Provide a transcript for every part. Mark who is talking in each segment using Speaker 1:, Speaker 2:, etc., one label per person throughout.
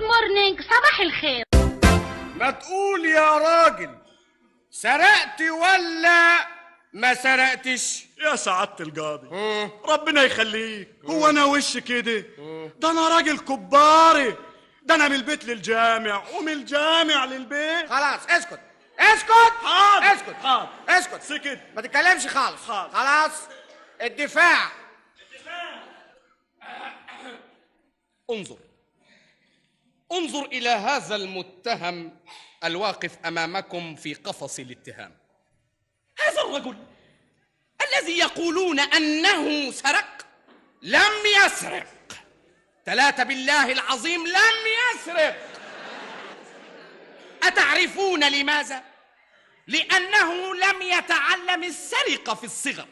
Speaker 1: خارج صباح الخير
Speaker 2: ما تقول يا راجل سرقت ولا ما سرقتش
Speaker 3: يا سعادة القاضي ربنا يخليك هو انا وش كده ده انا راجل كباري ده انا من البيت للجامع ومن الجامع للبيت
Speaker 2: خلاص اسكت اسكت
Speaker 3: حاضر.
Speaker 2: اسكت
Speaker 3: حاضر.
Speaker 2: اسكت
Speaker 3: سكت
Speaker 2: ما تتكلمش خالص
Speaker 3: حاضر.
Speaker 2: خلاص الدفاع
Speaker 4: انظر انظر الى هذا المتهم الواقف امامكم في قفص الاتهام هذا الرجل الذي يقولون انه سرق لم يسرق ثلاثة بالله العظيم لم يسرق أتعرفون لماذا؟ لأنه لم يتعلم السرقة في الصغر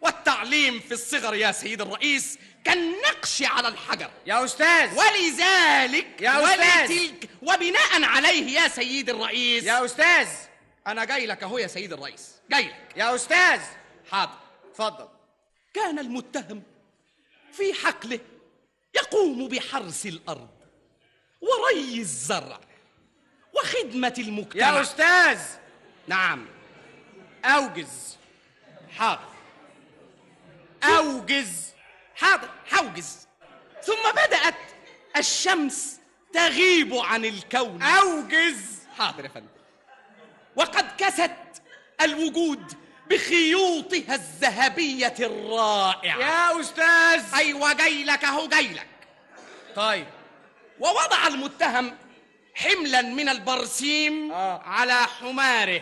Speaker 4: والتعليم في الصغر يا سيد الرئيس كالنقش على الحجر
Speaker 2: يا استاذ
Speaker 4: ولذلك
Speaker 2: يا أستاذ.
Speaker 4: ولتلك وبناء عليه يا سيد الرئيس
Speaker 2: يا استاذ
Speaker 4: انا جاي لك اهو يا سيد الرئيس جاي لك
Speaker 2: يا استاذ
Speaker 4: حاضر
Speaker 2: اتفضل
Speaker 4: كان المتهم في حقله يقوم بحرث الارض وري الزرع وخدمه المجتمع
Speaker 2: يا استاذ
Speaker 4: نعم
Speaker 2: اوجز
Speaker 4: حاضر
Speaker 2: اوجز
Speaker 4: حاضر حوجز ثم بدات الشمس تغيب عن الكون
Speaker 2: اوجز
Speaker 4: حاضر يا فندم وقد كست الوجود بخيوطها الذهبية الرائعة
Speaker 2: يا استاذ
Speaker 4: أيوة جايلك أهو جايلك
Speaker 2: طيب
Speaker 4: ووضع المتهم حملا من البرسيم
Speaker 2: آه.
Speaker 4: على حماره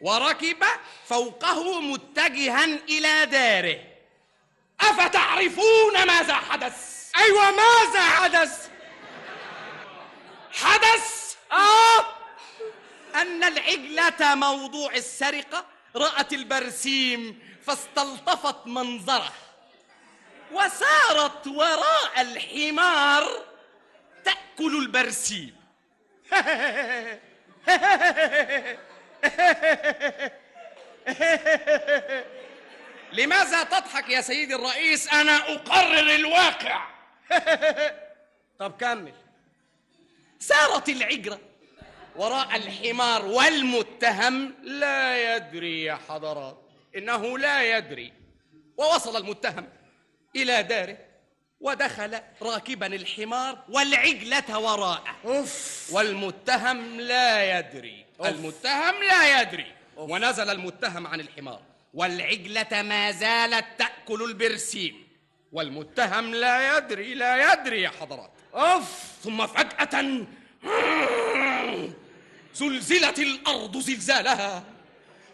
Speaker 4: وركب فوقه متجها إلى داره أفتعرفون ماذا حدث؟
Speaker 2: ايوه ماذا حدث
Speaker 4: حدث
Speaker 2: اه
Speaker 4: أن العجلة موضوع السرقة رأت البرسيم فاستلطفت منظره وسارت وراء الحمار تأكل البرسيم لماذا تضحك يا سيدي الرئيس أنا أقرر الواقع
Speaker 2: طب كمل
Speaker 4: سارت العجرة وراء الحمار والمتهم لا يدري يا حضرات إنه لا يدري ووصل المتهم إلى داره ودخل راكبا الحمار والعجلة وراءه
Speaker 2: اوف
Speaker 4: والمتهم لا يدري
Speaker 2: أوف.
Speaker 4: المتهم لا يدري ونزل المتهم عن الحمار والعجلة ما زالت تأكل البرسيم والمتهم لا يدري لا يدري يا حضرات
Speaker 2: اوف
Speaker 4: ثم فجأة زلزلت الأرض زلزالها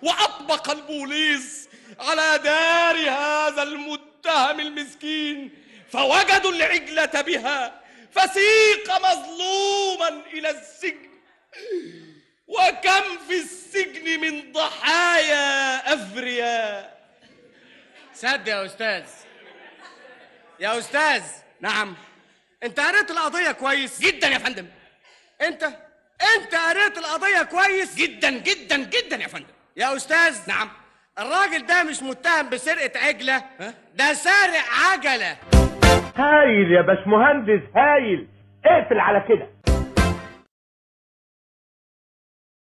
Speaker 4: وأطبق البوليس على دار هذا المتهم المسكين فوجدوا العجلة بها فسيق مظلوما إلى السجن وكم في السجن من ضحايا أفرياء
Speaker 2: صدق يا استاذ يا استاذ
Speaker 4: نعم
Speaker 2: انت قريت القضيه كويس
Speaker 4: جدا يا فندم
Speaker 2: انت انت قريت القضيه كويس
Speaker 4: جدا جدا جدا يا فندم
Speaker 2: يا استاذ
Speaker 4: نعم
Speaker 2: الراجل ده مش متهم بسرقه عجله
Speaker 4: ها؟
Speaker 2: ده سارق عجله
Speaker 5: هايل يا باشمهندس هايل اقفل على كده